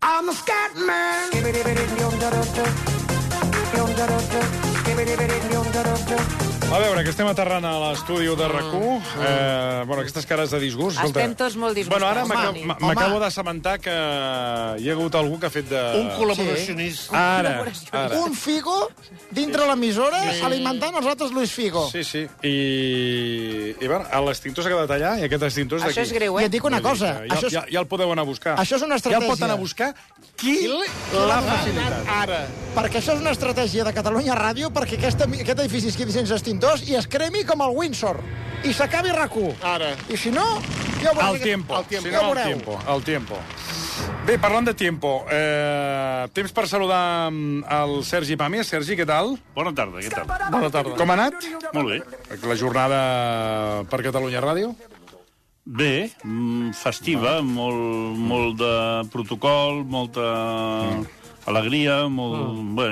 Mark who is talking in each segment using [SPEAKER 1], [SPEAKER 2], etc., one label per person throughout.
[SPEAKER 1] I'm a scat man.
[SPEAKER 2] A veure, que estem aterrant a l'estudi de RAC1. Eh, bueno, aquestes cares de disgust... escolta.
[SPEAKER 3] Mm. Estem tots molt disgustats,
[SPEAKER 2] Bueno, ara m'aca-
[SPEAKER 3] Toni.
[SPEAKER 2] m'a-
[SPEAKER 4] Home.
[SPEAKER 2] m'acabo d'assabentar que hi ha hagut algú que ha fet de...
[SPEAKER 4] Un col·laboracionista.
[SPEAKER 2] Ara, ara.
[SPEAKER 4] Un Figo dintre l'emissora alimentant els altres Luis Figo.
[SPEAKER 2] Sí, sí. I, i bueno, l'extintor s'ha quedat allà i aquest extintor és d'aquí.
[SPEAKER 3] Això és greu,
[SPEAKER 4] I
[SPEAKER 3] eh?
[SPEAKER 4] et dic una cosa.
[SPEAKER 2] Ja,
[SPEAKER 4] Això és,
[SPEAKER 2] ja, ja el podeu anar a buscar.
[SPEAKER 4] això és una
[SPEAKER 2] Ja
[SPEAKER 4] estratègia.
[SPEAKER 2] el pot anar a buscar qui l'ha facilitat.
[SPEAKER 4] Ara. Perquè això és una estratègia de Catalunya Ràdio perquè aquest, aquest edifici es quedi sense extintors i es cremi com el Windsor. I s'acabi rac
[SPEAKER 5] Ara.
[SPEAKER 4] I si no, ja ho veureu.
[SPEAKER 2] El tiempo.
[SPEAKER 4] El tiempo.
[SPEAKER 2] Si
[SPEAKER 4] Ja ho
[SPEAKER 2] no, el
[SPEAKER 4] veureu.
[SPEAKER 2] tiempo. El tiempo. Bé, parlant de tiempo, eh, temps per saludar mm, el Sergi Pàmies. Sergi, què tal?
[SPEAKER 6] Bona tarda, què tal?
[SPEAKER 2] Bona tarda. Com ha anat?
[SPEAKER 6] Molt bé.
[SPEAKER 2] La jornada per Catalunya Ràdio?
[SPEAKER 6] Bé, mm, festiva, molt, molt de protocol, molta
[SPEAKER 2] Mm.
[SPEAKER 6] alegria, molt... Bé,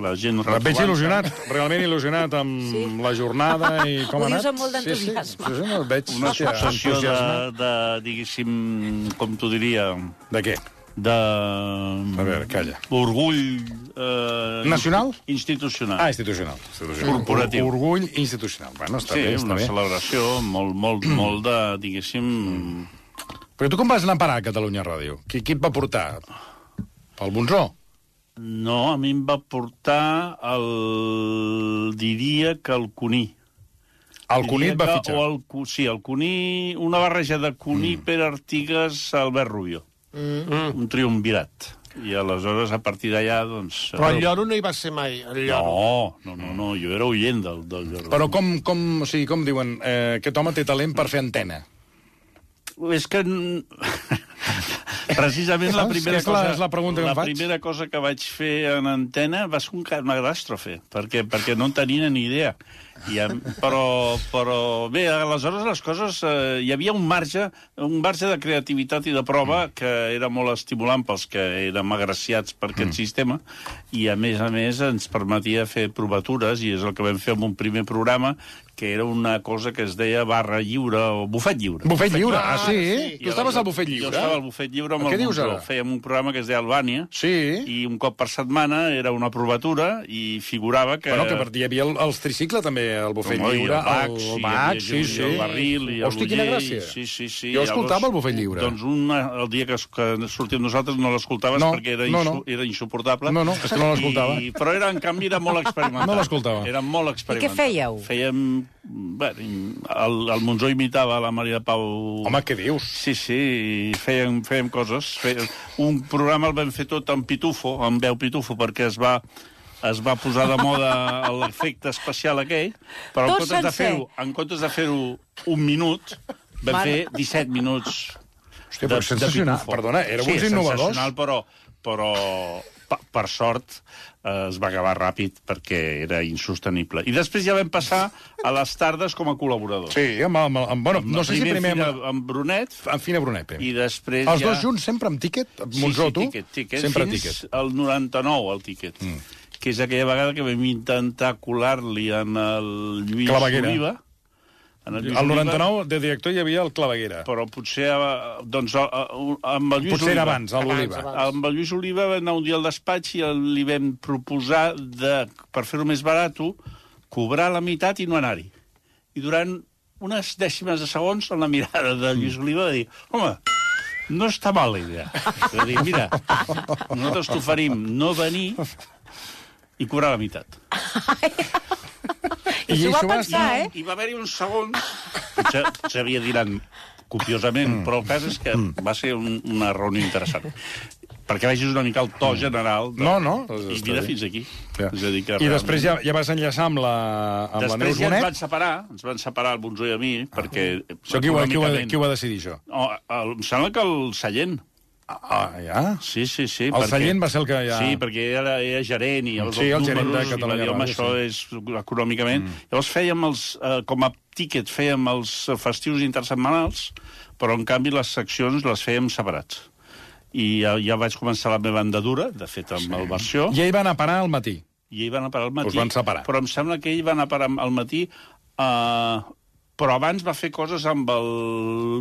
[SPEAKER 6] la gent...
[SPEAKER 2] Et veig
[SPEAKER 6] retrobant-se.
[SPEAKER 2] il·lusionat, eh, realment il·lusionat amb sí. la jornada i com
[SPEAKER 3] Ho dius
[SPEAKER 2] ha anat.
[SPEAKER 3] amb molt d'entusiasme.
[SPEAKER 2] Sí, sí, sí, sí, no, et veig
[SPEAKER 6] Una sensació de,
[SPEAKER 2] entusiasmat.
[SPEAKER 6] de, diguéssim, com t'ho diria,
[SPEAKER 2] De què?
[SPEAKER 6] de... mm,
[SPEAKER 2] A veure, calla.
[SPEAKER 6] Orgull... Eh,
[SPEAKER 2] Nacional?
[SPEAKER 6] Institucional.
[SPEAKER 2] Ah, institucional. institucional.
[SPEAKER 6] Corporatiu.
[SPEAKER 2] Orgull institucional. Bueno, està
[SPEAKER 6] sí,
[SPEAKER 2] bé, està
[SPEAKER 6] una
[SPEAKER 2] bé. Mm.
[SPEAKER 6] celebració molt, molt, molt de, diguéssim...
[SPEAKER 2] Però tu com vas anar a parar a Catalunya Ràdio? Qui, qui et va portar? Pel Bonzó?
[SPEAKER 6] No, a mi em va portar el... diria que el Cuní.
[SPEAKER 2] El Cuní
[SPEAKER 6] Diria
[SPEAKER 2] et va
[SPEAKER 6] que-
[SPEAKER 2] fitxar.
[SPEAKER 6] O el, Cu- sí, el Cuní, una barreja de Cuní, mm. Pere Artigas, Albert Rubio. Mm. Un triumvirat. I aleshores, a partir d'allà, doncs...
[SPEAKER 5] Però el lloro no hi va ser mai, el lloro.
[SPEAKER 6] No, no, no, no, jo era oient del, del Lloro.
[SPEAKER 2] Però com, com, o sigui, com diuen, eh, aquest home té talent per fer antena.
[SPEAKER 6] És que... n- Precisament la
[SPEAKER 2] Saps?
[SPEAKER 6] primera,
[SPEAKER 2] És la-
[SPEAKER 6] cosa,
[SPEAKER 2] és la pregunta que
[SPEAKER 6] la
[SPEAKER 2] em faig.
[SPEAKER 6] primera cosa que vaig fer en antena va ser un catàstrofe, perquè, perquè no en tenia ni idea. I, em- però, però bé, aleshores les coses... Eh, hi havia un marge, un marge de creativitat i de prova
[SPEAKER 2] Mm.
[SPEAKER 6] que era molt estimulant pels que érem agraciats per
[SPEAKER 2] Mm.
[SPEAKER 6] aquest sistema i, a més a més, ens permetia fer provatures i és el que vam fer amb un primer programa que era una cosa que es deia barra lliure o bufet llibre.
[SPEAKER 2] Bufet lliure,
[SPEAKER 5] Ah,
[SPEAKER 2] ah, sí?
[SPEAKER 5] sí.
[SPEAKER 2] Tu estaves al bufet lliure?
[SPEAKER 6] Jo estava al bufet lliure amb
[SPEAKER 2] Què
[SPEAKER 6] el
[SPEAKER 2] dius
[SPEAKER 6] Montró.
[SPEAKER 2] ara?
[SPEAKER 6] Fèiem un programa que es deia Albània,
[SPEAKER 2] Sí. I...
[SPEAKER 6] i un cop per setmana era una provatura i figurava que...
[SPEAKER 2] Bueno, que per hi havia el, els tricicle, també, al bufet
[SPEAKER 6] eh, Home, i
[SPEAKER 2] lliure.
[SPEAKER 6] el Bach, sí, hi havia
[SPEAKER 2] sí,
[SPEAKER 6] gent,
[SPEAKER 2] sí.
[SPEAKER 6] el Barril i el
[SPEAKER 2] Hosti, quina
[SPEAKER 6] Uller,
[SPEAKER 2] gràcia.
[SPEAKER 6] sí, sí, sí.
[SPEAKER 2] Jo
[SPEAKER 6] Llavors,
[SPEAKER 2] escoltava el bufet lliure.
[SPEAKER 6] Doncs una, el dia que, que sortim nosaltres no l'escoltaves
[SPEAKER 2] No,
[SPEAKER 6] perquè era,
[SPEAKER 2] no,
[SPEAKER 6] insu-
[SPEAKER 2] no.
[SPEAKER 6] era insuportable.
[SPEAKER 2] No, no, és que no l'escoltava.
[SPEAKER 6] I- Però era, en canvi, era molt experimental.
[SPEAKER 2] No l'escoltava.
[SPEAKER 6] Era molt experimental.
[SPEAKER 3] fèieu?
[SPEAKER 6] Fèiem... Bueno, el, el Monzó imitava la Maria Pau...
[SPEAKER 2] Home, què dius?
[SPEAKER 6] Sí, sí, i fèiem, fèiem coses. Fèiem... Un programa el vam fer tot amb pitufo, amb veu pitufo, perquè es va es va posar de moda l'efecte especial aquell, però en
[SPEAKER 3] Tot
[SPEAKER 6] comptes, de
[SPEAKER 3] sencer.
[SPEAKER 6] fer en comptes de fer-ho un minut, vam
[SPEAKER 3] Mare.
[SPEAKER 6] fer 17 minuts
[SPEAKER 2] Hòstia, però sensacional. Perdona, éreu
[SPEAKER 6] sí,
[SPEAKER 2] uns innovadors.
[SPEAKER 6] sensacional, però, però pa- per sort eh, es va acabar ràpid perquè era insostenible. I després ja vam passar a les tardes com a col·laboradors.
[SPEAKER 2] Sí, amb, amb, amb, bueno, no sé si primer...
[SPEAKER 6] Fina,
[SPEAKER 2] Amb,
[SPEAKER 6] amb Brunet,
[SPEAKER 2] amb Fina Brunet, primer.
[SPEAKER 6] i després
[SPEAKER 2] Els
[SPEAKER 6] ja...
[SPEAKER 2] dos junts sempre amb tíquet? Monzó,
[SPEAKER 6] sí, sí,
[SPEAKER 2] tu?
[SPEAKER 6] Tíquet, tíquet,
[SPEAKER 2] Sempre
[SPEAKER 6] fins
[SPEAKER 2] tíquet.
[SPEAKER 6] al 99, el tíquet. Mm. Que és aquella vegada que vam intentar colar-li en el Lluís
[SPEAKER 2] Claveguera.
[SPEAKER 6] Oliva. En el, Lluís
[SPEAKER 2] Al
[SPEAKER 6] Oliva,
[SPEAKER 2] 99, de director, hi havia el Claveguera.
[SPEAKER 6] Però potser, eh, doncs, a- a- amb el Lluís
[SPEAKER 2] Potser era
[SPEAKER 6] Oliva...
[SPEAKER 2] abans, el l'Oliva.
[SPEAKER 6] Amb el Lluís Oliva va anar un dia al despatx i el- li vam proposar, de, per fer-ho més barat, cobrar la meitat i no anar-hi. I durant unes dècimes de segons, en la mirada de Lluís
[SPEAKER 2] Mm.
[SPEAKER 6] Oliva, va dir, home, no està mal la idea. Va dir, mira, nosaltres t'oferim no venir i cobrar la meitat.
[SPEAKER 3] I s'ho va
[SPEAKER 2] això va
[SPEAKER 3] pensar, eh?
[SPEAKER 6] I va haver-hi uns segons... Potser s'havia dinat
[SPEAKER 2] Mm.
[SPEAKER 6] copiosament, però el cas és que va ser un, una reunió interessant. Perquè vegis una mica el to general... De...
[SPEAKER 2] Mm. No, no,
[SPEAKER 6] I
[SPEAKER 2] està
[SPEAKER 6] mira
[SPEAKER 2] bé.
[SPEAKER 6] fins aquí.
[SPEAKER 2] Ja.
[SPEAKER 6] És a dir, que
[SPEAKER 2] I després ja, ja vas enllaçar amb la, amb la
[SPEAKER 6] Després
[SPEAKER 2] Neus
[SPEAKER 6] ja ens
[SPEAKER 2] Bonet. Ah,
[SPEAKER 6] van separar, ens van separar el Bonzó i a mi, perquè...
[SPEAKER 2] Això qui ho, qui, ho,
[SPEAKER 6] econòmicament-
[SPEAKER 2] qui ho va decidir, això?
[SPEAKER 6] Oh, el, em sembla que el Sallent.
[SPEAKER 2] Ah, ja?
[SPEAKER 6] Sí, sí, sí.
[SPEAKER 2] El Sallent va ser el que ja-
[SPEAKER 6] Sí, perquè era, era gerent i els
[SPEAKER 2] Sí, el gerent de
[SPEAKER 6] números, i va
[SPEAKER 2] Catalunya
[SPEAKER 6] dir, home,
[SPEAKER 2] Ràdio,
[SPEAKER 6] això és econòmicament... Mm. Llavors fèiem els, eh, com a tíquet, fèiem els festius intersetmanals, però en canvi les seccions les fèiem separats. I ja, ja vaig començar la meva andadura, de fet, amb sí. el versió,
[SPEAKER 2] I ell va anar a parar al matí.
[SPEAKER 6] i ell va anar a parar al matí.
[SPEAKER 2] Us van separar.
[SPEAKER 6] Però em sembla que ell va anar a parar al matí a eh, però abans va fer coses amb el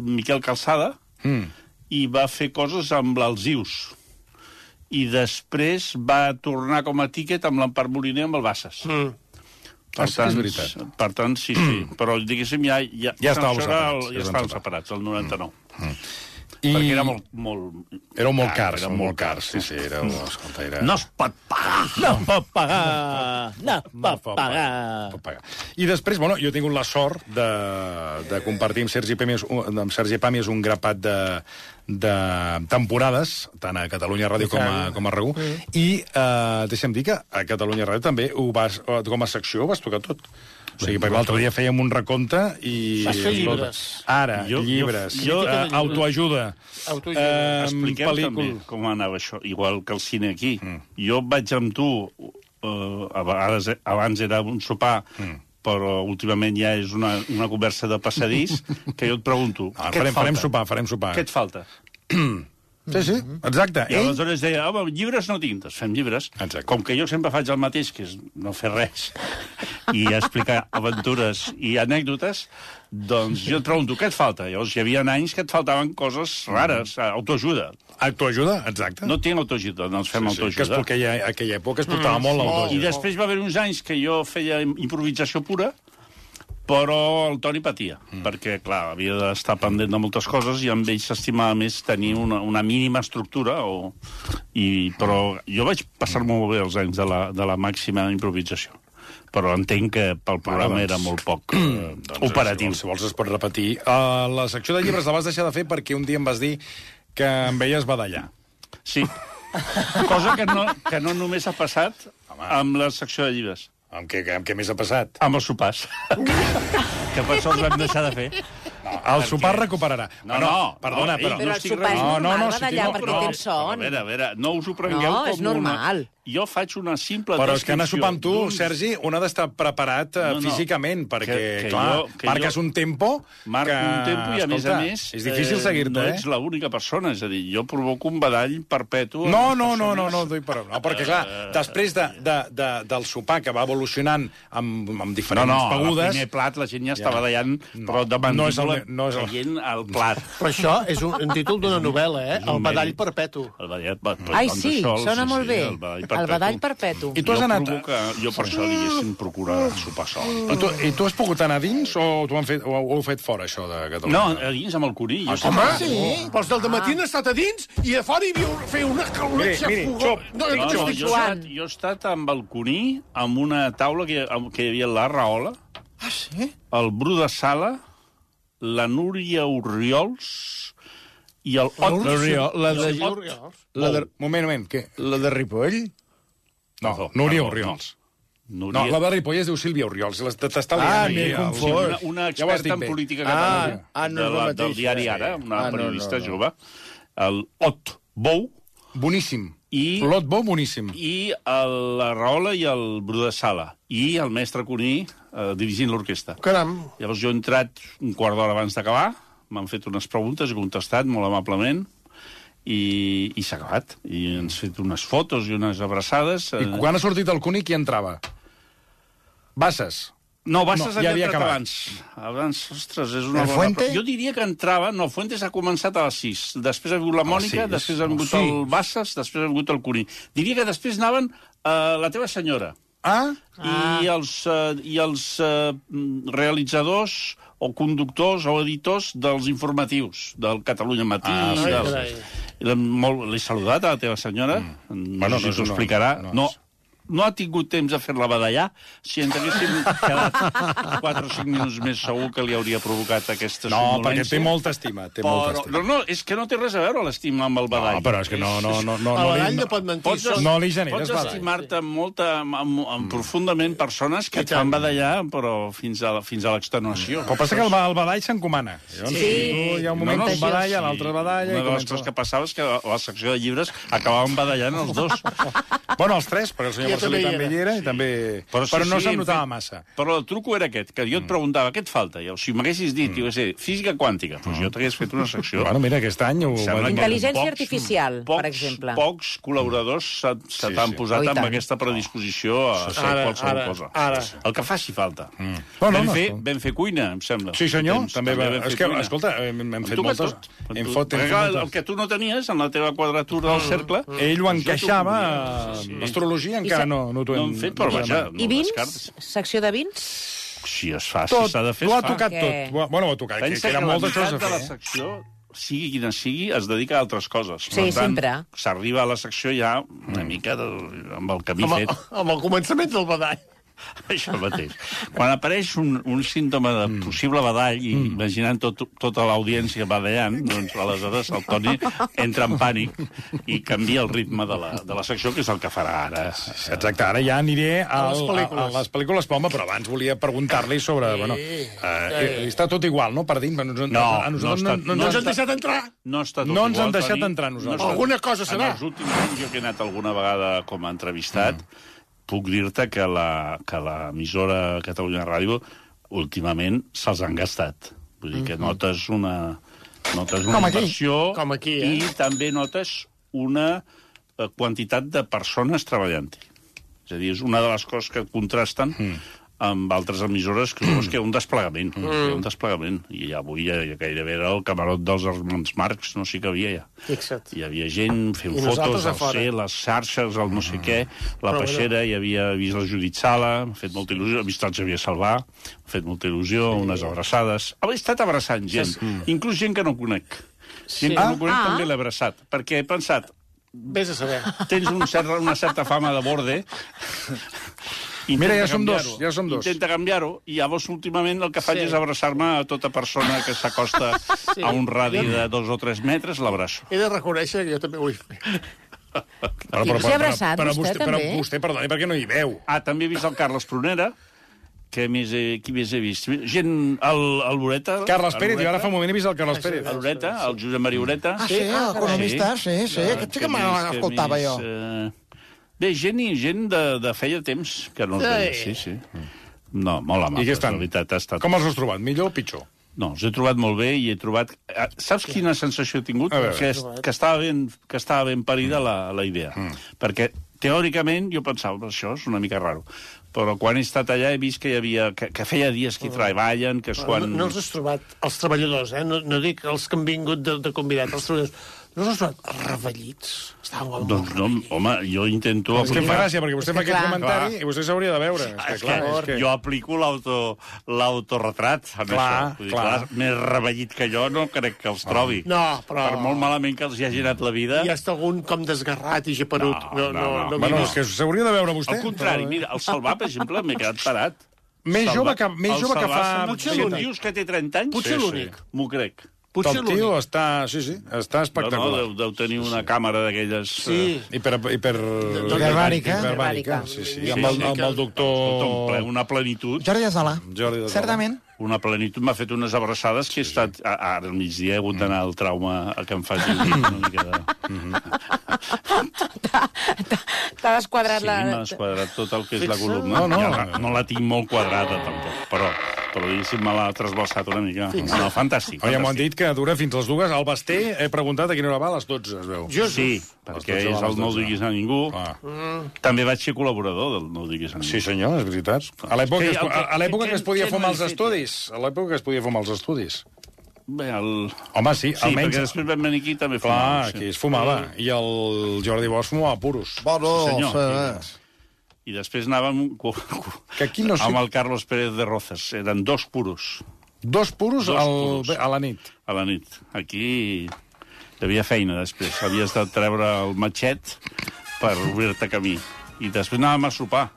[SPEAKER 6] Miquel Calçada mm. i va fer coses amb l'Alzius. I després va tornar com a tiquet amb l'Empart Moliner amb el Bassas. Mm.
[SPEAKER 2] Ah,
[SPEAKER 6] Per
[SPEAKER 2] sí, és veritat.
[SPEAKER 6] Per tant, sí, sí. Però, diguéssim, ja... Ja,
[SPEAKER 2] Ja estàvem
[SPEAKER 6] això era el-
[SPEAKER 2] separats,
[SPEAKER 6] Ja
[SPEAKER 2] es van
[SPEAKER 6] estàvem
[SPEAKER 2] separar.
[SPEAKER 6] separats, el 99. Mm.
[SPEAKER 2] I...
[SPEAKER 6] Perquè era molt... molt...
[SPEAKER 2] Éreu molt cars,
[SPEAKER 6] era
[SPEAKER 2] éreu molt cars, sí, sí, éreu... Escolta, era...
[SPEAKER 6] No es pot pagar!
[SPEAKER 3] No pot pagar,
[SPEAKER 5] Mm.
[SPEAKER 3] no pot
[SPEAKER 2] pot
[SPEAKER 5] eh?
[SPEAKER 3] pagar.
[SPEAKER 2] pot pagar. I després, bueno, jo he tingut la sort de, de compartir amb Sergi Pàmies, un- amb Sergi Pàmies un grapat de, de temporades, tant a Catalunya Ràdio com a, com a RAC1, i eh, deixa'm dir que a Catalunya Ràdio també ho vas, eh, com a secció ho vas tocar tot. O sigui, perquè l'altre dia fèiem un recompte i...
[SPEAKER 5] Vas fer llibres.
[SPEAKER 2] Ara,
[SPEAKER 6] Jo- jo-
[SPEAKER 2] llibres.
[SPEAKER 6] jo-
[SPEAKER 2] eh, autoajuda.
[SPEAKER 5] Autoajuda.
[SPEAKER 2] Eh,
[SPEAKER 6] Expliquem
[SPEAKER 2] pel·lícula.
[SPEAKER 6] també com anava això, igual que el cine aquí. Mm. Jo vaig amb tu, eh, a vegades eh, abans era un sopar, mm. però últimament ja és una, una conversa de passadís, que jo et pregunto,
[SPEAKER 2] No, Ah,
[SPEAKER 6] què,
[SPEAKER 2] farem,
[SPEAKER 6] et
[SPEAKER 2] farem
[SPEAKER 6] falta?
[SPEAKER 2] sopar, farem sopar.
[SPEAKER 6] què et falta?
[SPEAKER 2] Sí, sí, exacte.
[SPEAKER 6] Ah. I aleshores deia, home, llibres no tinc, doncs fem llibres.
[SPEAKER 2] Exacte.
[SPEAKER 6] Com que jo sempre faig el mateix, que és no fer res, i explicar aventures i anècdotes, doncs jo et pregunto, què et falta? Llavors hi havia anys que et faltaven coses rares,
[SPEAKER 2] Mm.
[SPEAKER 6] autoajuda.
[SPEAKER 2] Autoajuda, exacte.
[SPEAKER 6] No tinc autoajuda, doncs fem sí, sí,
[SPEAKER 2] que es,
[SPEAKER 6] autoajuda.
[SPEAKER 2] aquella, aquella època es portava mm, molt l'autoajuda.
[SPEAKER 6] I després va haver uns anys que jo feia im- improvisació pura, però el Toni patia, mm. perquè, clar, havia d'estar pendent de moltes coses i amb ell s'estimava més tenir una, una mínima estructura. O... I, però jo vaig passar molt bé els anys de la, de la màxima improvisació. Però entenc que pel programa
[SPEAKER 2] doncs-
[SPEAKER 6] era molt poc eh, doncs, operatiu.
[SPEAKER 2] Si vols, si vols es pot repetir. Uh, la secció de llibres la vas deixar de fer perquè un dia em vas dir que em veies badallar.
[SPEAKER 6] Sí. Cosa que no, que no només ha passat amb la secció de llibres.
[SPEAKER 2] Amb què, amb què més ha passat?
[SPEAKER 6] Amb els sopars. que per sort vam deixar de fer.
[SPEAKER 2] No, el sopar recuperarà.
[SPEAKER 6] Ah, No,
[SPEAKER 2] Bueno,
[SPEAKER 6] no,
[SPEAKER 2] perdona,
[SPEAKER 6] no,
[SPEAKER 2] però...
[SPEAKER 6] ei,
[SPEAKER 7] Però el
[SPEAKER 6] estic
[SPEAKER 7] sopar és
[SPEAKER 6] res-
[SPEAKER 2] No, no,
[SPEAKER 7] normal
[SPEAKER 2] no, si
[SPEAKER 7] badallar
[SPEAKER 2] tinc-
[SPEAKER 7] perquè
[SPEAKER 2] no,
[SPEAKER 7] tens
[SPEAKER 6] però, A
[SPEAKER 7] son.
[SPEAKER 6] veure, a veure, no us ho prengueu
[SPEAKER 7] No, és
[SPEAKER 6] com
[SPEAKER 7] normal.
[SPEAKER 6] Una... Jo faig una simple
[SPEAKER 2] Però és que anar a
[SPEAKER 6] descripció
[SPEAKER 2] sopar amb tu,
[SPEAKER 6] d'un-
[SPEAKER 2] Sergi, un ha d'estar preparat no,
[SPEAKER 6] No, no.
[SPEAKER 2] no. físicament, perquè,
[SPEAKER 6] Que- que
[SPEAKER 2] clar,
[SPEAKER 6] jo- que
[SPEAKER 2] marques
[SPEAKER 6] jo-
[SPEAKER 2] un tempo
[SPEAKER 6] Marco
[SPEAKER 2] que...
[SPEAKER 6] un tempo i, a més a
[SPEAKER 2] escolta,
[SPEAKER 6] més...
[SPEAKER 2] És difícil seguir-te,
[SPEAKER 6] No
[SPEAKER 2] eh?
[SPEAKER 6] ets l'única persona, és a dir, jo provoco un badall perpetu... en
[SPEAKER 2] No,
[SPEAKER 6] les
[SPEAKER 2] no, no, no,
[SPEAKER 6] persones.
[SPEAKER 2] no, doy per... no, perquè, clar, després de, de, de, del sopar que va evolucionant amb, amb
[SPEAKER 6] No,
[SPEAKER 2] diferents
[SPEAKER 6] no, al
[SPEAKER 2] begudes...
[SPEAKER 6] primer plat la gent ja, ja. estava ballant, no, però de
[SPEAKER 2] no és el
[SPEAKER 6] mandíbula
[SPEAKER 2] me- no és el-
[SPEAKER 6] caient al plat.
[SPEAKER 5] Però això és un, un títol d'una novel·la, eh? El
[SPEAKER 6] un
[SPEAKER 5] badall
[SPEAKER 6] mèrit.
[SPEAKER 5] perpetu.
[SPEAKER 6] El badall, doncs per-
[SPEAKER 7] Ai,
[SPEAKER 6] per
[SPEAKER 7] sí,
[SPEAKER 6] sol,
[SPEAKER 7] sona molt bé.
[SPEAKER 6] El badall
[SPEAKER 7] El badall perpetu.
[SPEAKER 2] I tu has
[SPEAKER 6] jo
[SPEAKER 2] anat-
[SPEAKER 6] Provoca, jo per això, diguéssim, procurar sopar sol.
[SPEAKER 2] I tu, I tu has pogut anar dins o t'ho han fet, o ho heu fet fora, això de
[SPEAKER 6] No, eh,
[SPEAKER 2] Catalunya?
[SPEAKER 6] a dins amb el conill. jo
[SPEAKER 5] Home,
[SPEAKER 6] sempre-
[SPEAKER 5] sí. però els del dematí han estat a dins i a fora hi havia un- feia una caloreta
[SPEAKER 2] miri, xop.
[SPEAKER 5] No,
[SPEAKER 6] No,
[SPEAKER 5] no, no,
[SPEAKER 6] no, jo, he estat, jo he estat amb el Cuní, amb una taula que, amb- que hi havia la Rahola, ah, sí? el Bru de Sala, la Núria Oriols i el Ot.
[SPEAKER 3] La, Rio, la, de, la, de,
[SPEAKER 2] Moment, moment, què?
[SPEAKER 3] la de Ripoll?
[SPEAKER 2] No,
[SPEAKER 6] Perdó,
[SPEAKER 2] Núria
[SPEAKER 6] perdó,
[SPEAKER 2] Oriols. No,
[SPEAKER 6] Núria,
[SPEAKER 2] la de Ripoll es diu Sílvia Oriols. les- T'està
[SPEAKER 3] Ah,
[SPEAKER 2] liant,
[SPEAKER 3] m'he
[SPEAKER 2] Núria, o sigui,
[SPEAKER 3] confós.
[SPEAKER 6] una, una
[SPEAKER 2] Ja ho has
[SPEAKER 6] experta
[SPEAKER 2] dit
[SPEAKER 6] en
[SPEAKER 2] bé.
[SPEAKER 6] política
[SPEAKER 3] Ah,
[SPEAKER 6] catalana
[SPEAKER 3] ah, no
[SPEAKER 6] de
[SPEAKER 3] és la
[SPEAKER 6] la, del
[SPEAKER 3] mateixa,
[SPEAKER 6] diari
[SPEAKER 3] sí.
[SPEAKER 6] Ara, una
[SPEAKER 3] Ah, no, no,
[SPEAKER 6] periodista
[SPEAKER 3] no.
[SPEAKER 6] jove, el Ot Bou
[SPEAKER 2] Boníssim.
[SPEAKER 6] I-
[SPEAKER 2] Lot bo, boníssim.
[SPEAKER 6] i el, la Rahola i el Bru de Sala i el mestre Cuní eh, dirigint l'orquestra.
[SPEAKER 5] Caram,
[SPEAKER 6] Llavors jo he entrat un quart d'hora abans d'acabar, m'han fet unes preguntes, he contestat molt amablement, i, i s'ha acabat. I ens fet unes fotos i unes abraçades.
[SPEAKER 2] I quan ha sortit el Cunic, qui entrava? Basses.
[SPEAKER 6] Eh, No, Bassas
[SPEAKER 2] No,
[SPEAKER 6] no,
[SPEAKER 2] ja
[SPEAKER 6] ja
[SPEAKER 2] havia
[SPEAKER 6] havia entrat
[SPEAKER 2] acabat.
[SPEAKER 6] abans. Abans, ostres, és una
[SPEAKER 4] El
[SPEAKER 6] bona...
[SPEAKER 4] Fuente?
[SPEAKER 6] Jo diria que entrava... No, Fuentes ha començat a les 6. Després ha vingut la Mònica,
[SPEAKER 2] sis.
[SPEAKER 6] després ha vingut
[SPEAKER 2] Sí.
[SPEAKER 6] el Bassas, després ha vingut el Cuní. Diria que després anaven eh, la teva senyora.
[SPEAKER 2] Ah?
[SPEAKER 6] i els, eh, i els eh, mm, realitzadors o conductors o editors dels informatius del Catalunya Matí.
[SPEAKER 2] Ah,
[SPEAKER 6] i
[SPEAKER 2] sí,
[SPEAKER 6] del...
[SPEAKER 5] carai.
[SPEAKER 6] I l'hem molt... L'he saludat a la teva senyora, mm. no
[SPEAKER 2] Bueno,
[SPEAKER 6] sé si
[SPEAKER 2] no,
[SPEAKER 6] t'ho
[SPEAKER 2] no,
[SPEAKER 6] explicarà.
[SPEAKER 2] no,
[SPEAKER 6] No,
[SPEAKER 2] no.
[SPEAKER 6] no, no ha tingut temps de fer-la badallar. Si ens haguéssim quedat 4 o 5 minuts més, segur que li hauria provocat aquesta
[SPEAKER 2] No, perquè
[SPEAKER 6] somnolència.
[SPEAKER 2] té molta estima. Té molta
[SPEAKER 6] Però,
[SPEAKER 2] estima.
[SPEAKER 6] no, no, és que no té res a veure l'estima amb el badall.
[SPEAKER 2] No, Ah, però és que no, no, no, no,
[SPEAKER 5] a
[SPEAKER 2] no,
[SPEAKER 5] l'any
[SPEAKER 2] li,
[SPEAKER 5] no pot mentir.
[SPEAKER 6] Pots,
[SPEAKER 5] Són-
[SPEAKER 2] no li generes
[SPEAKER 6] pots
[SPEAKER 2] badall.
[SPEAKER 6] estimar-te amb molta, amb, amb, amb
[SPEAKER 2] Mm.
[SPEAKER 6] profundament persones que et fan badallar, però fins a, la- fins a l'extenuació.
[SPEAKER 2] Però passa que el, ba- el badall s'encomana. Llavors,
[SPEAKER 7] Sí.
[SPEAKER 2] tu Hi ha un moment no, no, que un badalla, l'altre badalla...
[SPEAKER 6] Una
[SPEAKER 2] i
[SPEAKER 6] de les
[SPEAKER 2] comença-
[SPEAKER 6] coses que passava és que a la secció de llibres acabaven badallant els dos.
[SPEAKER 2] Bueno, els tres, perquè el senyor Rosselló també, també hi era, i també... Però, sí, però no
[SPEAKER 6] hem
[SPEAKER 2] se'n notava
[SPEAKER 6] fet-
[SPEAKER 2] massa.
[SPEAKER 6] Però el truco era aquest, que
[SPEAKER 2] Mm.
[SPEAKER 6] jo et preguntava, què et falta? Jo, si m'haguessis dit, mm. jo què sé, física quàntica, doncs jo t'hagués fet una secció.
[SPEAKER 2] Bueno, mira, aquest any... Ho...
[SPEAKER 6] Sembla que
[SPEAKER 7] Intel·ligència artificial, per exemple.
[SPEAKER 6] Pocs col·laboradors se, se
[SPEAKER 2] Sí,
[SPEAKER 6] t'han
[SPEAKER 2] sí.
[SPEAKER 7] Oh,
[SPEAKER 6] posat
[SPEAKER 7] i
[SPEAKER 6] amb
[SPEAKER 7] tant.
[SPEAKER 6] aquesta predisposició a fer
[SPEAKER 5] Ara,
[SPEAKER 6] qualsevol
[SPEAKER 5] ara,
[SPEAKER 6] cosa.
[SPEAKER 5] ara.
[SPEAKER 6] El que faci falta. Mm.
[SPEAKER 2] No, no,
[SPEAKER 6] vam,
[SPEAKER 2] no,
[SPEAKER 6] fer,
[SPEAKER 2] escolta.
[SPEAKER 6] vam fer cuina, em sembla.
[SPEAKER 2] Sí, senyor,
[SPEAKER 6] Temps,
[SPEAKER 2] també, va...
[SPEAKER 6] vam fer
[SPEAKER 2] És que,
[SPEAKER 6] cuina.
[SPEAKER 2] escolta, hem, hem
[SPEAKER 6] Em
[SPEAKER 2] fet
[SPEAKER 6] toca
[SPEAKER 2] moltes...
[SPEAKER 6] tot. Em
[SPEAKER 2] Hem
[SPEAKER 6] to-
[SPEAKER 2] fot, hem
[SPEAKER 6] Perquè,
[SPEAKER 2] fet
[SPEAKER 6] clar,
[SPEAKER 2] moltes.
[SPEAKER 6] el que tu no tenies en la teva quadratura del cercle...
[SPEAKER 2] Ell ho
[SPEAKER 6] jo t'ho
[SPEAKER 2] encaixava...
[SPEAKER 6] combinava. Sí, sí.
[SPEAKER 2] L'astrologia encara no, no t'ho
[SPEAKER 6] No hem fet, però
[SPEAKER 2] no t'ho
[SPEAKER 6] vaja...
[SPEAKER 2] hem-
[SPEAKER 6] no
[SPEAKER 7] I
[SPEAKER 6] ho
[SPEAKER 7] vins?
[SPEAKER 6] descartes.
[SPEAKER 7] Secció de vins?
[SPEAKER 6] Si es fa, si
[SPEAKER 2] Tot,
[SPEAKER 6] s'ha de fer,
[SPEAKER 2] ho ha
[SPEAKER 6] es fa.
[SPEAKER 2] tocat
[SPEAKER 7] Que-
[SPEAKER 2] tot. Ho ha- Bueno, ho ha tocat, que,
[SPEAKER 6] Pensa
[SPEAKER 2] que
[SPEAKER 6] que,
[SPEAKER 2] era
[SPEAKER 6] la
[SPEAKER 2] moltes
[SPEAKER 6] meitat
[SPEAKER 2] coses a
[SPEAKER 6] de la
[SPEAKER 2] fer. eh?
[SPEAKER 6] secció, sigui quina sigui, es dedica a altres coses.
[SPEAKER 7] Sí, sempre.
[SPEAKER 6] S'arriba a la secció ja una mica de, amb el camí
[SPEAKER 5] Amb,
[SPEAKER 6] fet.
[SPEAKER 5] amb el començament del badall.
[SPEAKER 6] Això mateix. Quan apareix un, un símptoma de
[SPEAKER 2] Mm.
[SPEAKER 6] possible badall, i imaginant tot, tota l'audiència badallant, doncs aleshores el Toni entra en pànic i canvia el ritme de la, de la secció, que és el que farà ara.
[SPEAKER 2] Sí, Exacte, ara ja aniré a,
[SPEAKER 5] les pel·lícules.
[SPEAKER 2] a, a les pel·lícules, però, home, però abans volia preguntar-li sobre... Sí, bueno, eh,
[SPEAKER 5] sí.
[SPEAKER 2] Està tot igual, no? Per dins, no,
[SPEAKER 6] No, no està-
[SPEAKER 5] No
[SPEAKER 6] No
[SPEAKER 5] ens han
[SPEAKER 6] està-
[SPEAKER 5] deixat entrar.
[SPEAKER 6] No està tot
[SPEAKER 2] No ens
[SPEAKER 6] igual,
[SPEAKER 2] han deixat
[SPEAKER 6] Toni.
[SPEAKER 2] entrar nosaltres.
[SPEAKER 6] està-
[SPEAKER 5] Alguna cosa serà.
[SPEAKER 6] En els últims anys, jo que he anat alguna vegada com a entrevistat, puc dir-te que la- que l'emissora Catalunya Ràdio últimament se'ls han gastat. Vull dir que notes una, notes una
[SPEAKER 4] Com aquí.
[SPEAKER 6] inversió
[SPEAKER 5] Com aquí, eh?
[SPEAKER 6] i també notes una eh, quantitat de persones treballant-hi. És a dir, és una de les coses que contrasten amb altres emissores que és que un desplegament, mm. un desplegament. I avui ja, ja gairebé era el camarot dels Armands Marx, no sé què havia ja.
[SPEAKER 5] Fixa't.
[SPEAKER 6] Hi havia gent fent
[SPEAKER 5] I nosaltres
[SPEAKER 6] fotos,
[SPEAKER 5] a
[SPEAKER 6] al
[SPEAKER 5] fora.
[SPEAKER 6] ser, les xarxes, el no sé què, la
[SPEAKER 5] Però
[SPEAKER 6] peixera, hi havia vist la Judit Sala, m'ha fet molta il·lusió, ha vist el Xavier Salvà, m'ha fet molta il·lusió, unes abraçades... He estat abraçant gent, inclús gent que no conec. Gent que no conec
[SPEAKER 7] Ah.
[SPEAKER 6] també l'he abraçat, perquè he pensat,
[SPEAKER 5] Vés a saber.
[SPEAKER 6] tens un cert, una certa fama de borde. Intenta
[SPEAKER 2] Mira, ja som
[SPEAKER 6] canviar-ho.
[SPEAKER 2] dos, ja som dos.
[SPEAKER 6] Intenta canviar-ho, i llavors últimament el que faig
[SPEAKER 5] Sí.
[SPEAKER 6] sí. és abraçar-me a tota persona que s'acosta sí. a un radi de dos o tres metres, l'abraço.
[SPEAKER 5] He de reconèixer que jo també ho he fet.
[SPEAKER 2] Però,
[SPEAKER 7] I us he abraçat, vostè,
[SPEAKER 2] però
[SPEAKER 7] també?
[SPEAKER 2] vostè, perdoni, perquè no hi veu.
[SPEAKER 6] Ah, també he vist el Carles Prunera, que més he, qui més he vist? Gent, el, el Loreta...
[SPEAKER 2] Carles
[SPEAKER 6] el
[SPEAKER 2] Pérez, jo ara
[SPEAKER 6] Loreta,
[SPEAKER 2] fa un moment he vist el
[SPEAKER 5] Ah,
[SPEAKER 2] Carles Pérez.
[SPEAKER 6] El Loreta, el Josep Maria Oreta.
[SPEAKER 4] Ah, sí, el economista, sí, sí. Aquest sí que me l'escoltava jo.
[SPEAKER 6] Eh... Bé, gent i gent de, de feia temps que no els veia, sí,
[SPEAKER 5] Sí.
[SPEAKER 6] sí. No, molt amable,
[SPEAKER 2] I què estan?
[SPEAKER 6] la veritat. Ha estat...
[SPEAKER 2] Com els has trobat, millor o pitjor?
[SPEAKER 6] No, els he trobat molt bé i he trobat... Ah, Saps quina sensació he tingut?
[SPEAKER 2] A veure.
[SPEAKER 6] Que, es, que, estava ben, que estava ben parida la, la idea. Mm. Perquè, teòricament, jo pensava, "Però això és una mica raro. Però quan he estat allà he vist que hi havia... que, que feia dies
[SPEAKER 4] Oh.
[SPEAKER 6] que hi treballen, que és quan...
[SPEAKER 5] No, no els has trobat, els treballadors, eh? No, no dic els que han vingut de, de convidat, els treballadors. No els has trobat els rebellits? Estaven com...
[SPEAKER 6] Doncs no, home, jo intento...
[SPEAKER 2] És que em fa
[SPEAKER 6] aplicar-
[SPEAKER 2] gràcia, perquè vostè fa aquest
[SPEAKER 7] clar.
[SPEAKER 2] comentari i vostè s'hauria de veure. És que,
[SPEAKER 6] És que,
[SPEAKER 2] clar, és que...
[SPEAKER 6] jo aplico l'auto- l'autorretrat amb
[SPEAKER 2] Clar,
[SPEAKER 6] això. Vull dir,
[SPEAKER 2] clar.
[SPEAKER 6] Més rebellit que jo no crec que els trobi.
[SPEAKER 5] No, però-
[SPEAKER 6] Per molt malament que els hi hagi anat la vida...
[SPEAKER 5] Hi ha estat algun com desgarrat i geperut.
[SPEAKER 6] No, no, no.
[SPEAKER 5] m'he
[SPEAKER 2] Bueno,
[SPEAKER 5] vist.
[SPEAKER 2] és que s'hauria de veure vostè.
[SPEAKER 6] Al contrari, mira, el Salvà, per exemple, m'he quedat parat.
[SPEAKER 2] Més
[SPEAKER 6] Salvà-
[SPEAKER 2] jove que, més
[SPEAKER 6] el
[SPEAKER 2] jove que
[SPEAKER 6] Salvà
[SPEAKER 2] fa...
[SPEAKER 6] sembla- Potser
[SPEAKER 2] set
[SPEAKER 6] l'únic.
[SPEAKER 2] anys.
[SPEAKER 6] Dius que té 30 anys?
[SPEAKER 5] Potser l'únic.
[SPEAKER 6] M'ho crec.
[SPEAKER 5] Potser
[SPEAKER 2] El
[SPEAKER 5] l'únic.
[SPEAKER 2] tio està... Sí, sí, està
[SPEAKER 6] No, no,
[SPEAKER 2] espectacular.
[SPEAKER 6] deu, deu tenir una càmera d'aquelles... eh,
[SPEAKER 5] Sí.
[SPEAKER 2] Hiper, hiper...
[SPEAKER 4] Doncs
[SPEAKER 2] Hiperbàrica,
[SPEAKER 4] Hiperbàrica.
[SPEAKER 7] Hiperbàrica.
[SPEAKER 2] sí, sí. Amb el, amb el
[SPEAKER 6] Escolta, un ple-
[SPEAKER 2] doctor...
[SPEAKER 6] una plenitud,
[SPEAKER 4] Jordi de Sala.
[SPEAKER 2] Jordi de Sala.
[SPEAKER 4] Certament.
[SPEAKER 6] una plenitud. M'ha fet unes abraçades que he estat... a- Ara al migdia he hagut
[SPEAKER 2] Mm.
[SPEAKER 6] d'anar al trauma a que em faci una mica de...
[SPEAKER 7] T'ha desquadrat
[SPEAKER 6] Sí, m'ha
[SPEAKER 7] la...
[SPEAKER 6] desquadrat tot el que és la
[SPEAKER 5] Fixa.
[SPEAKER 6] columna.
[SPEAKER 2] No, no.
[SPEAKER 6] Ja la- no la tinc molt quadrada, tampoc. Però, però diguéssim, me l'ha trasbalsat una mica. No, fantàstic.
[SPEAKER 2] Oh, ja m'ho han
[SPEAKER 6] fantàstic.
[SPEAKER 2] dit que dura fins les dues. Al Basté he preguntat a quina hora va, a les 12, es veu.
[SPEAKER 5] Just-
[SPEAKER 6] Sí,
[SPEAKER 2] Els dotze
[SPEAKER 6] perquè és
[SPEAKER 2] homes,
[SPEAKER 6] el No
[SPEAKER 2] dotze.
[SPEAKER 6] diguis a ningú.
[SPEAKER 2] Ah.
[SPEAKER 6] També vaig ser col·laborador del No diguis a ningú.
[SPEAKER 2] Sí, senyor, és veritat. A l'època que,
[SPEAKER 6] Que-
[SPEAKER 2] es, po- a- a l'època que es podia
[SPEAKER 6] que- que
[SPEAKER 2] fumar
[SPEAKER 6] no
[SPEAKER 2] els
[SPEAKER 6] he fet, eh.
[SPEAKER 2] estudis. A l'època que es podia fumar els estudis.
[SPEAKER 6] Bé, el...
[SPEAKER 2] Home, sí,
[SPEAKER 6] Sí, Almenys... perquè
[SPEAKER 2] almenys...
[SPEAKER 6] després vam venir aquí i també
[SPEAKER 2] Clar,
[SPEAKER 6] fumàvem, sí.
[SPEAKER 2] aquí es fumava. I el Jordi Bosch fumava puros.
[SPEAKER 6] Sí,
[SPEAKER 4] Bueno,
[SPEAKER 6] senyor.
[SPEAKER 4] eh,
[SPEAKER 6] I després anàvem cu-
[SPEAKER 2] Que aquí no sé-
[SPEAKER 6] amb el Carlos Pérez de Rozas. Eren dos puros
[SPEAKER 2] Dos puros,
[SPEAKER 6] Dos
[SPEAKER 2] al,
[SPEAKER 6] puros.
[SPEAKER 2] bé, a la nit.
[SPEAKER 6] a la nit. Aquí hi havia feina després. Havies de treure el matxet per obrir-te camí. I després anàvem a sopar.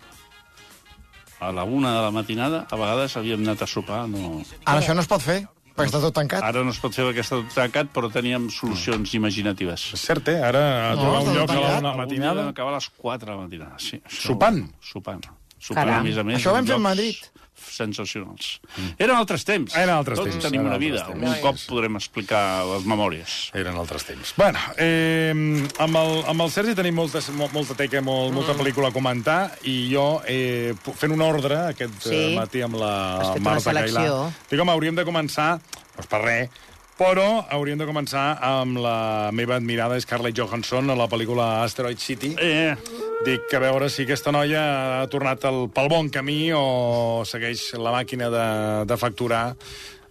[SPEAKER 6] A la una de la matinada, a vegades havíem anat a sopar. No...
[SPEAKER 4] Ara això no es pot fer, perquè està tot tancat.
[SPEAKER 6] Ara no es pot fer perquè està tot tancat, però teníem solucions imaginatives.
[SPEAKER 2] És cert, eh? Ara a trobar
[SPEAKER 4] està
[SPEAKER 2] un lloc a la
[SPEAKER 4] tancat.
[SPEAKER 2] una matinada...
[SPEAKER 6] Algun dia vam acabar a les 4 de la matinada, sí. Això-
[SPEAKER 2] Sopant?
[SPEAKER 6] Sopant. Sopant,
[SPEAKER 7] Caram.
[SPEAKER 6] a més a més.
[SPEAKER 4] Això ho vam
[SPEAKER 6] en
[SPEAKER 4] fer a
[SPEAKER 6] llocs-
[SPEAKER 4] Madrid.
[SPEAKER 6] sensacionals. Mm. Eren altres temps.
[SPEAKER 2] Eren altres
[SPEAKER 6] Tots
[SPEAKER 2] temps,
[SPEAKER 6] tenim
[SPEAKER 2] eren
[SPEAKER 6] una
[SPEAKER 2] altres
[SPEAKER 6] vida.
[SPEAKER 2] temps.
[SPEAKER 6] Un cop podrem explicar les memòries.
[SPEAKER 2] Eren altres temps. Bueno, eh, amb, el, amb el Sergi tenim moltes, mo- molta teca, molt, mm. molta pel·lícula a comentar, i jo, eh, pu- fent un ordre aquest sí.
[SPEAKER 7] Sí.
[SPEAKER 2] matí amb la
[SPEAKER 7] Has fet una
[SPEAKER 2] Marta Cailà...
[SPEAKER 7] selecció.
[SPEAKER 2] Dic, home, hauríem de començar... No és per res, però hauríem de començar amb la meva admirada Scarlett Johansson a la pel·lícula Asteroid City.
[SPEAKER 6] Eh,
[SPEAKER 2] Dic que a veure si aquesta noia ha tornat el, pel bon camí o segueix la màquina de, de facturar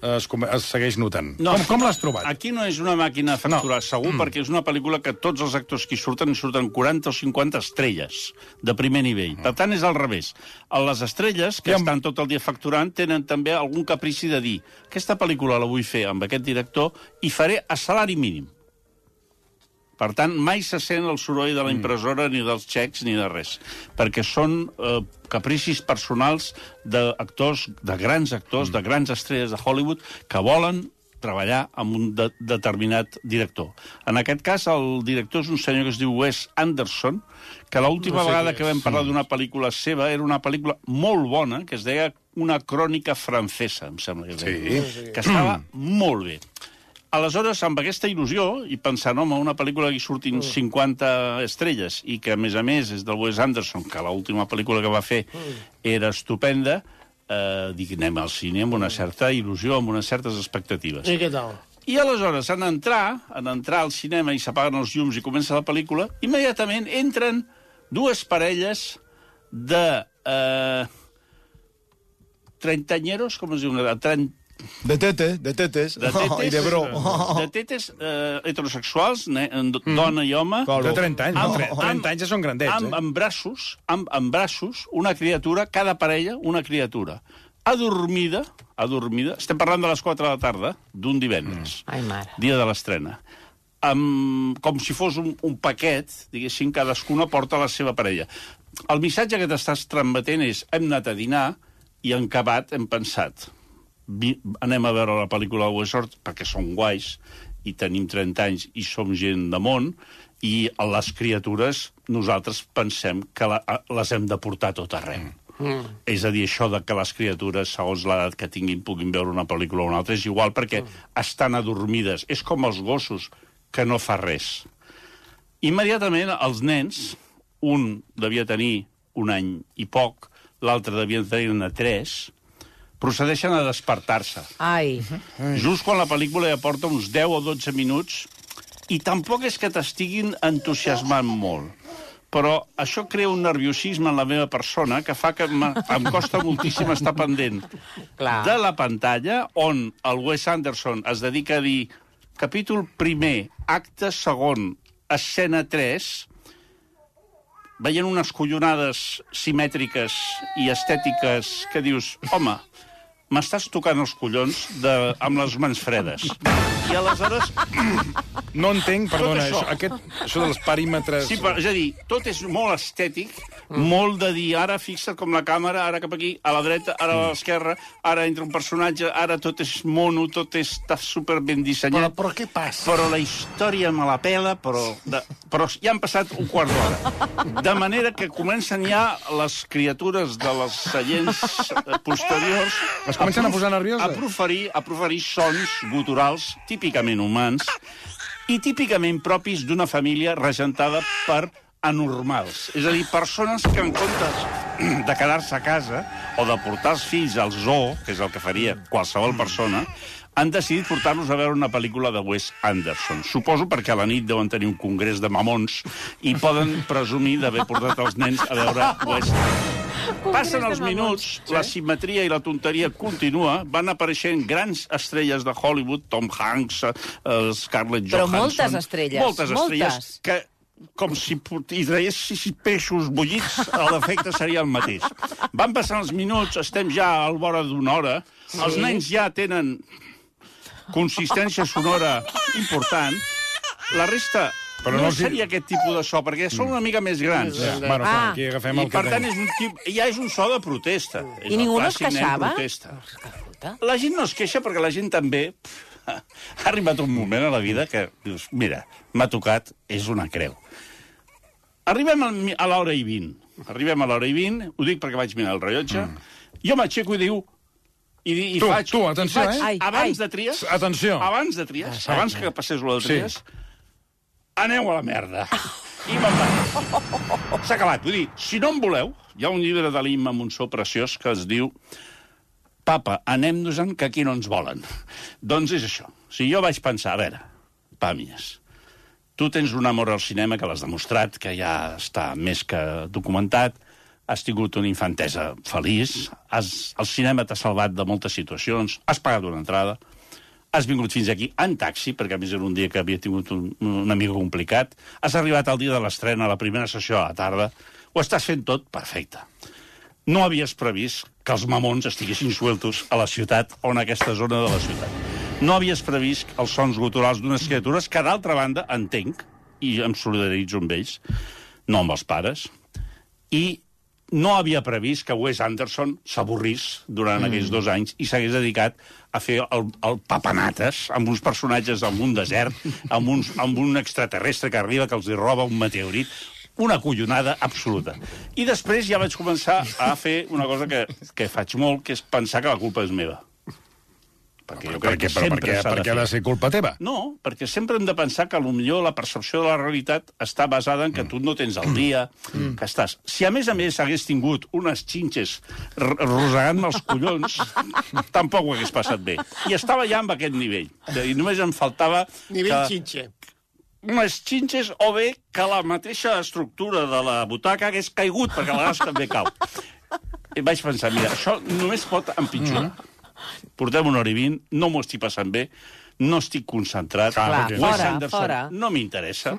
[SPEAKER 2] eh, es, com- es segueix notant.
[SPEAKER 6] No.
[SPEAKER 2] Com, com l'has trobat?
[SPEAKER 6] aquí no és una màquina de facturar, no. segur, mm. perquè és una pel·lícula que tots els actors que hi surten, hi surten 40 o 50 estrelles de primer nivell. Per tant, és al revés. A Les estrelles, que
[SPEAKER 2] I amb-
[SPEAKER 6] estan tot el dia facturant, tenen també algun caprici de dir aquesta pel·lícula la vull fer amb aquest director i faré a salari mínim. Per tant, mai se sent el soroll de la impressora, ni dels xecs, ni de res. Perquè són eh, capricis personals d'actors, de grans actors, de grans estrelles de Hollywood, que volen treballar amb un de determinat director. En aquest cas, el director és un senyor que es diu Wes Anderson, que l'última no sé Mm. vegada que vam parlar d'una pel·lícula seva era una pel·lícula molt bona, que es deia Una crònica francesa, em sembla que es deia, sí. que estava molt bé. Aleshores, amb aquesta il·lusió, i pensant, home, una pel·lícula que hi surtin 50 estrelles, i que, a més a més, és del Wes Anderson, que l'última pel·lícula que va fer era estupenda, eh, dic, anem al cine amb una certa il·lusió, amb unes certes expectatives.
[SPEAKER 5] I què tal?
[SPEAKER 6] I aleshores, en entrar, en entrar al cinema i s'apaguen els llums i comença la pel·lícula, immediatament entren dues parelles de... Eh, treintanyeros, com es diu? De tren-
[SPEAKER 3] De tete, de tetes.
[SPEAKER 6] de tetes,
[SPEAKER 3] I de bro.
[SPEAKER 6] de tetes eh, heterosexuals, ne, en- dona i home,
[SPEAKER 3] Col.
[SPEAKER 2] De 30 anys.
[SPEAKER 6] Amb-
[SPEAKER 2] No, 30, 30 anys ja són grandets,
[SPEAKER 6] amb,
[SPEAKER 2] eh?
[SPEAKER 6] amb braços, amb, amb braços, una criatura, cada parella, una criatura. Adormida, adormida, estem parlant de les 4 de la tarda d'un
[SPEAKER 3] Mm.
[SPEAKER 6] divendres,
[SPEAKER 7] Ai, mare.
[SPEAKER 6] dia de l'estrena, amb, com si fos un, un paquet, diguéssim, cadascuna porta la seva parella. El missatge que t'estàs transmetent és hem anat a dinar i en acabat hem pensat vi, anem a veure la pel·lícula de Westworld perquè som guais i tenim 30 anys i som gent de món i a les criatures nosaltres pensem que la, a- les hem de portar tot arreu. Mm. És a dir, això de que les criatures, segons l'edat que tinguin, puguin veure una pel·lícula o una altra, és igual perquè mm. estan adormides. És com els gossos, que no fa res. Immediatament, els nens, un devia tenir un any i poc, l'altre devia tenir-ne tres, procedeixen a despertar-se.
[SPEAKER 7] Ai,
[SPEAKER 2] Mhm.
[SPEAKER 6] Just quan la pel·lícula ja porta uns 10 o 12 minuts i tampoc és que t'estiguin entusiasmant molt. Però això crea un nerviosisme en la meva persona que fa que me- em costa moltíssim estar pendent
[SPEAKER 7] Clar.
[SPEAKER 6] de la pantalla on el Wes Anderson es dedica a dir capítol primer, acte segon, escena 3, veient unes collonades simètriques i estètiques que dius, home, m'estàs tocant els collons de, amb les mans fredes. I aleshores,
[SPEAKER 2] No entenc, perdona,
[SPEAKER 6] això.
[SPEAKER 2] això, aquest, això dels perímetres...
[SPEAKER 6] sí, però, és a dir, tot és molt estètic, molt de dir, ara fixa't com la càmera, ara cap aquí, a la dreta, ara a l'esquerra, ara entra un personatge, ara tot és mono, tot és, està super ben
[SPEAKER 5] Però,
[SPEAKER 6] dissenyat.
[SPEAKER 5] però què passa?
[SPEAKER 6] però la història me la pela, però, de, però ja han passat un quart d'hora. De manera que comencen ja les criatures de les seients eh, posteriors...
[SPEAKER 2] Es comencen a
[SPEAKER 6] prof-
[SPEAKER 2] posar nervioses?
[SPEAKER 6] A proferir, a proferir sons guturals típicament humans i típicament propis d'una família regentada per anormals. És a dir, persones que en comptes de quedar-se a casa o de portar els fills al zoo, que és el que faria qualsevol persona, han decidit portar-los a veure una pel·lícula de Wes Anderson. Suposo perquè a la nit deuen tenir un congrés de mamons i poden presumir d'haver portat els nens a veure Wes Passen els
[SPEAKER 7] doncs.
[SPEAKER 6] minuts, la simetria i la tonteria continua, van apareixent grans estrelles de Hollywood, Tom Hanks, eh, Scarlett
[SPEAKER 7] Però
[SPEAKER 6] Johansson...
[SPEAKER 7] moltes estrelles,
[SPEAKER 6] Moltes estrelles
[SPEAKER 7] moltes.
[SPEAKER 6] que com si pot- hi traguessis peixos bullits, eh, l'efecte seria el mateix. Van passant els minuts, estem ja a la vora d'una hora, sí. els nens ja tenen consistència sonora important, la resta
[SPEAKER 2] Però
[SPEAKER 6] però no,
[SPEAKER 2] no
[SPEAKER 6] no
[SPEAKER 2] els hi-
[SPEAKER 6] seria aquest tipus de so, perquè són una mica més grans.
[SPEAKER 2] Ja, bueno,
[SPEAKER 7] Ah.
[SPEAKER 2] ah. aquí agafem
[SPEAKER 6] I
[SPEAKER 2] el
[SPEAKER 6] per
[SPEAKER 2] que
[SPEAKER 6] tant
[SPEAKER 2] tenim.
[SPEAKER 6] és un tip, ja és un so de protesta. És
[SPEAKER 7] I
[SPEAKER 6] el
[SPEAKER 7] ningú no es
[SPEAKER 6] clàssic nen
[SPEAKER 7] queixava?
[SPEAKER 6] Protesta.
[SPEAKER 7] puta.
[SPEAKER 6] La gent no es queixa perquè la gent també... pff, Ha arribat un moment a la vida que dius, mira, m'ha tocat, és una creu. Arribem al mi- a l'hora i vint. Arribem a l'hora i vint, ho dic perquè vaig mirar el rellotge, mm. Jo m'aixeco i diu... I, i
[SPEAKER 2] Tu,
[SPEAKER 6] faig,
[SPEAKER 2] tu, atenció,
[SPEAKER 6] i faig,
[SPEAKER 2] eh?
[SPEAKER 7] Ai, ai.
[SPEAKER 6] abans de Trias...
[SPEAKER 2] Atenció.
[SPEAKER 6] Abans de Trias, abans que passés lo de Trias, aneu a la merda. I me'n vaig. S'ha acabat. Vull dir, si no em voleu, hi ha un llibre de l'Imma Monsó preciós que es diu Papa, anem-nos-en, que aquí no ens volen. Doncs és això. Si jo vaig pensar, a veure, pàmies, tu tens un amor al cinema que l'has demostrat, que ja està més que documentat, has tingut una infantesa feliç, has, el cinema t'ha salvat de moltes situacions, has pagat una entrada, has vingut fins aquí en taxi, perquè a més era un dia que havia tingut un, un amic complicat, has arribat al dia de l'estrena, a la primera sessió a la tarda, ho estàs fent tot perfecte. No havies previst que els mamons estiguessin sueltos a la ciutat o en aquesta zona de la ciutat. No havies previst els sons guturals d'unes criatures que, d'altra banda, entenc, i em solidaritzo amb ells, no amb els pares, i no havia previst que Wes Anderson s'avorrís durant mm. aquells dos anys i s'hagués dedicat a fer el, el papanates amb uns personatges en un desert, amb, uns, amb un extraterrestre que arriba que els hi roba un meteorit una collonada absoluta. I després ja vaig començar a fer una cosa que, que faig molt, que és pensar que la culpa és meva. Perquè jo
[SPEAKER 2] Per
[SPEAKER 6] crec
[SPEAKER 2] què,
[SPEAKER 6] que
[SPEAKER 2] però, per
[SPEAKER 6] sempre
[SPEAKER 2] què,
[SPEAKER 6] s'ha
[SPEAKER 2] per
[SPEAKER 6] de
[SPEAKER 2] què ha
[SPEAKER 6] fer.
[SPEAKER 2] de ser culpa teva?
[SPEAKER 6] No, perquè sempre hem de pensar que millor la percepció de la realitat està basada en que tu no tens el dia, que estàs... Si a més a més hagués tingut unes xinxes r- rosegant-me els collons, tampoc ho hagués passat bé. I estava ja amb aquest nivell. És a dir, només em faltava...
[SPEAKER 5] Nivell
[SPEAKER 6] que
[SPEAKER 5] xinxe.
[SPEAKER 6] unes xinxes o bé que la mateixa estructura de la butaca hagués caigut, perquè a vegades també cau. I vaig pensar, mira, això només pot empitjorar. Portem una hora i vint, no m'ho estic passant bé, no estic concentrat.
[SPEAKER 7] Clar,
[SPEAKER 6] Wes
[SPEAKER 7] fora,
[SPEAKER 6] Anderson
[SPEAKER 7] fora.
[SPEAKER 6] No m'interessa.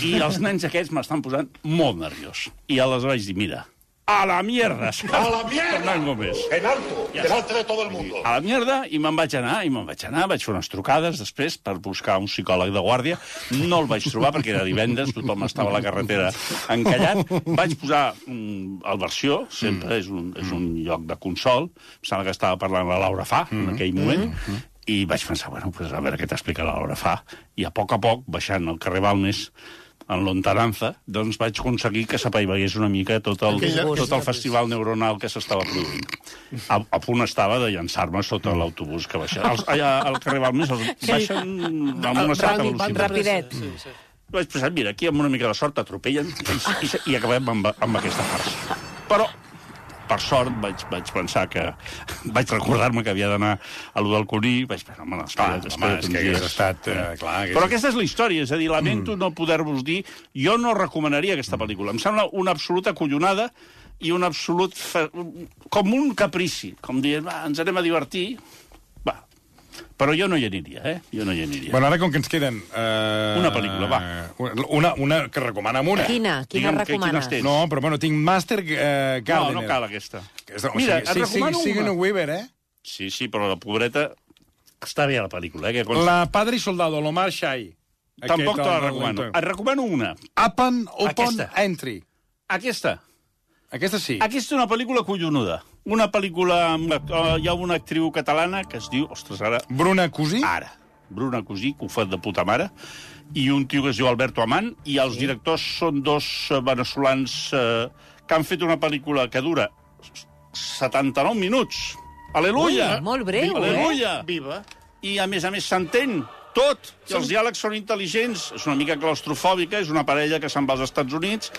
[SPEAKER 6] I els nens aquests m'estan posant molt nerviós. I aleshores vaig dir, mira, a la mierda! A la mierda! Fernán Gómez.
[SPEAKER 8] En alto, delante de todo el mundo.
[SPEAKER 6] a la mierda i me'n vaig anar, i me'n vaig anar, vaig fer unes trucades després per buscar un psicòleg de guàrdia, no el vaig trobar perquè era divendres, tothom estava a la carretera encallat, vaig posar mm, el versió, sempre és un, és un lloc de consol, em sembla que estava parlant la Laura Fa en aquell moment, i vaig pensar, bueno, pues a veure què t'explica la Laura Fa, i a poc a poc, baixant el carrer Balmes, en l'Ontananza, doncs vaig aconseguir que s'apaivagués una mica tot el,
[SPEAKER 5] Aquella-
[SPEAKER 6] tot el festival neuronal que s'estava produint. A, a punt estava de llançar-me sota l'autobús que baixava. Els, allà al carrer Balmes els baixen amb una certa
[SPEAKER 7] Ràpid,
[SPEAKER 6] velocitat.
[SPEAKER 7] rapidet.
[SPEAKER 5] Sí, sí.
[SPEAKER 6] Vaig pensar, mira, aquí amb una mica de sort t'atropellen i, i, i acabem amb, amb aquesta farsa. Però, per sort, vaig, vaig pensar que... Vaig recordar-me que havia d'anar a lo del Cuní, vaig pensar, home, doncs,
[SPEAKER 2] Clar,
[SPEAKER 6] espera't,
[SPEAKER 2] home,
[SPEAKER 6] espera't
[SPEAKER 2] és
[SPEAKER 6] uns
[SPEAKER 2] que hagués
[SPEAKER 6] dies.
[SPEAKER 2] estat... Eh, clar, hagués...
[SPEAKER 6] Però aquesta és la història, és a dir, lamento mm. no poder-vos dir... Jo no recomanaria aquesta pel·lícula. Em sembla una absoluta collonada i un absolut... Fe... com un caprici, com dient, va, ens anem a divertir... Va. Però jo no hi aniria, eh? Jo no hi aniria.
[SPEAKER 2] Bueno, ara com que ens queden... Eh...
[SPEAKER 6] Una pel·lícula, va.
[SPEAKER 2] Una, una que recomana'm una.
[SPEAKER 7] Quina? Quina
[SPEAKER 6] Digue'm que-
[SPEAKER 7] recomanes?
[SPEAKER 6] quines tens?
[SPEAKER 2] No, però bueno, tinc Master eh,
[SPEAKER 6] no,
[SPEAKER 2] Gardener.
[SPEAKER 6] no cal aquesta.
[SPEAKER 2] Aquesta, o
[SPEAKER 6] Mira,
[SPEAKER 2] sigui,
[SPEAKER 6] et recomano
[SPEAKER 2] sí,
[SPEAKER 6] una.
[SPEAKER 2] una. Weaver, eh?
[SPEAKER 6] Sí, sí, però la pobreta... Està bé a la pel·lícula, eh? Que consta.
[SPEAKER 2] La Padre i Soldado, l'Omar Shai.
[SPEAKER 6] Tampoc te la recomano. Et recomano una.
[SPEAKER 2] Upon Upon
[SPEAKER 6] Aquesta.
[SPEAKER 2] Entry.
[SPEAKER 6] Aquesta.
[SPEAKER 2] Aquesta sí.
[SPEAKER 6] Aquesta és una pel·lícula collonuda. Una pel·lícula... Amb... eh, Hi ha una actriu catalana que es diu... Ostres, ara...
[SPEAKER 2] Bruna Cosí.
[SPEAKER 6] Ara. Bruna Cosí, que ho fa de puta mare, i un tio que es diu Alberto Amant, i els directors són dos eh, veneçolans eh, que han fet una pel·lícula que dura 79 minuts. Aleluia!
[SPEAKER 7] Ui, molt breu, eh?
[SPEAKER 6] Aleluia!
[SPEAKER 5] Viva.
[SPEAKER 6] i a més a més s'entén tot. I els diàlegs són intel·ligents, és una mica claustrofòbica, és una parella que se'n va als Estats Units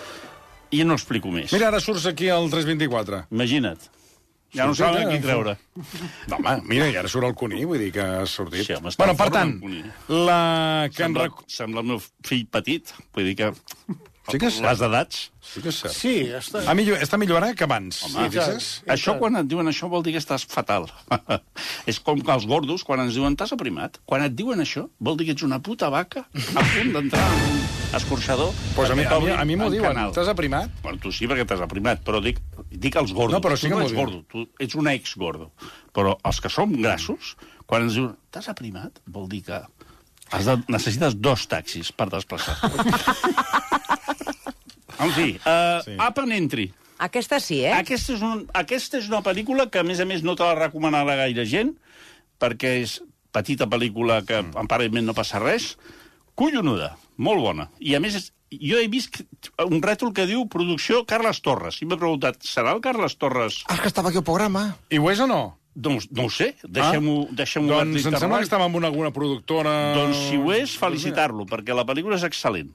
[SPEAKER 6] i no explico més.
[SPEAKER 2] Mira, ara surts aquí al 324.
[SPEAKER 6] Imagina't. Ja no saben a qui creure.
[SPEAKER 2] No, home, mira, i ara surt el Cuní, vull dir que ha sortit.
[SPEAKER 6] Sí, home, està
[SPEAKER 2] bueno,
[SPEAKER 6] en
[SPEAKER 2] per
[SPEAKER 6] forma,
[SPEAKER 2] tant,
[SPEAKER 6] el Cuní.
[SPEAKER 2] la que em
[SPEAKER 6] Sembla,
[SPEAKER 2] rec...
[SPEAKER 6] sembla el meu fill petit, vull dir que...
[SPEAKER 2] Sí que és cert.
[SPEAKER 6] les edats.
[SPEAKER 2] Sí que és cert.
[SPEAKER 5] Sí, està...
[SPEAKER 2] Ha millor, està millor ara que abans. Home,
[SPEAKER 6] Això quan et diuen això vol dir que estàs fatal. és com que els gordos, quan ens diuen t'has aprimat, quan et diuen això vol dir que ets una puta vaca a punt d'entrar en un escorxador.
[SPEAKER 2] pues a mi, a mi,
[SPEAKER 6] perquè t'obrin
[SPEAKER 2] a mi m'ho
[SPEAKER 6] en
[SPEAKER 2] diuen.
[SPEAKER 6] canal.
[SPEAKER 2] T'has aprimat?
[SPEAKER 6] Bueno, tu sí, perquè t'has aprimat, però dic, dic els gordos.
[SPEAKER 2] No, però sí
[SPEAKER 6] tu
[SPEAKER 2] que
[SPEAKER 6] no
[SPEAKER 2] m'ho
[SPEAKER 6] ets
[SPEAKER 2] diuen.
[SPEAKER 6] gordo, tu ets un ex-gordo. Però els que som grassos, quan ens diuen t'has aprimat, vol dir que has de, necessites dos taxis per desplaçar-te. en fi, uh, sí. Up and Entry.
[SPEAKER 7] Aquesta sí, eh?
[SPEAKER 6] Aquesta és, un, aquesta és una pel·lícula que, a més a més, no te la recomanarà gaire gent, perquè és petita pel·lícula que, mm. aparentment, no passa res, Collonuda, molt bona. I a més, jo he vist un rètol que diu producció Carles Torres. I m'he preguntat, serà el Carles Torres?
[SPEAKER 4] Ah, és que estava aquí al programa.
[SPEAKER 2] I ho és o no?
[SPEAKER 6] Doncs no ho sé, deixem-ho... Ah? Deixem
[SPEAKER 2] Doncs em sembla que estàvem amb una, alguna productora...
[SPEAKER 6] doncs si ho és, felicitar-lo, perquè la pel·lícula és excel·lent.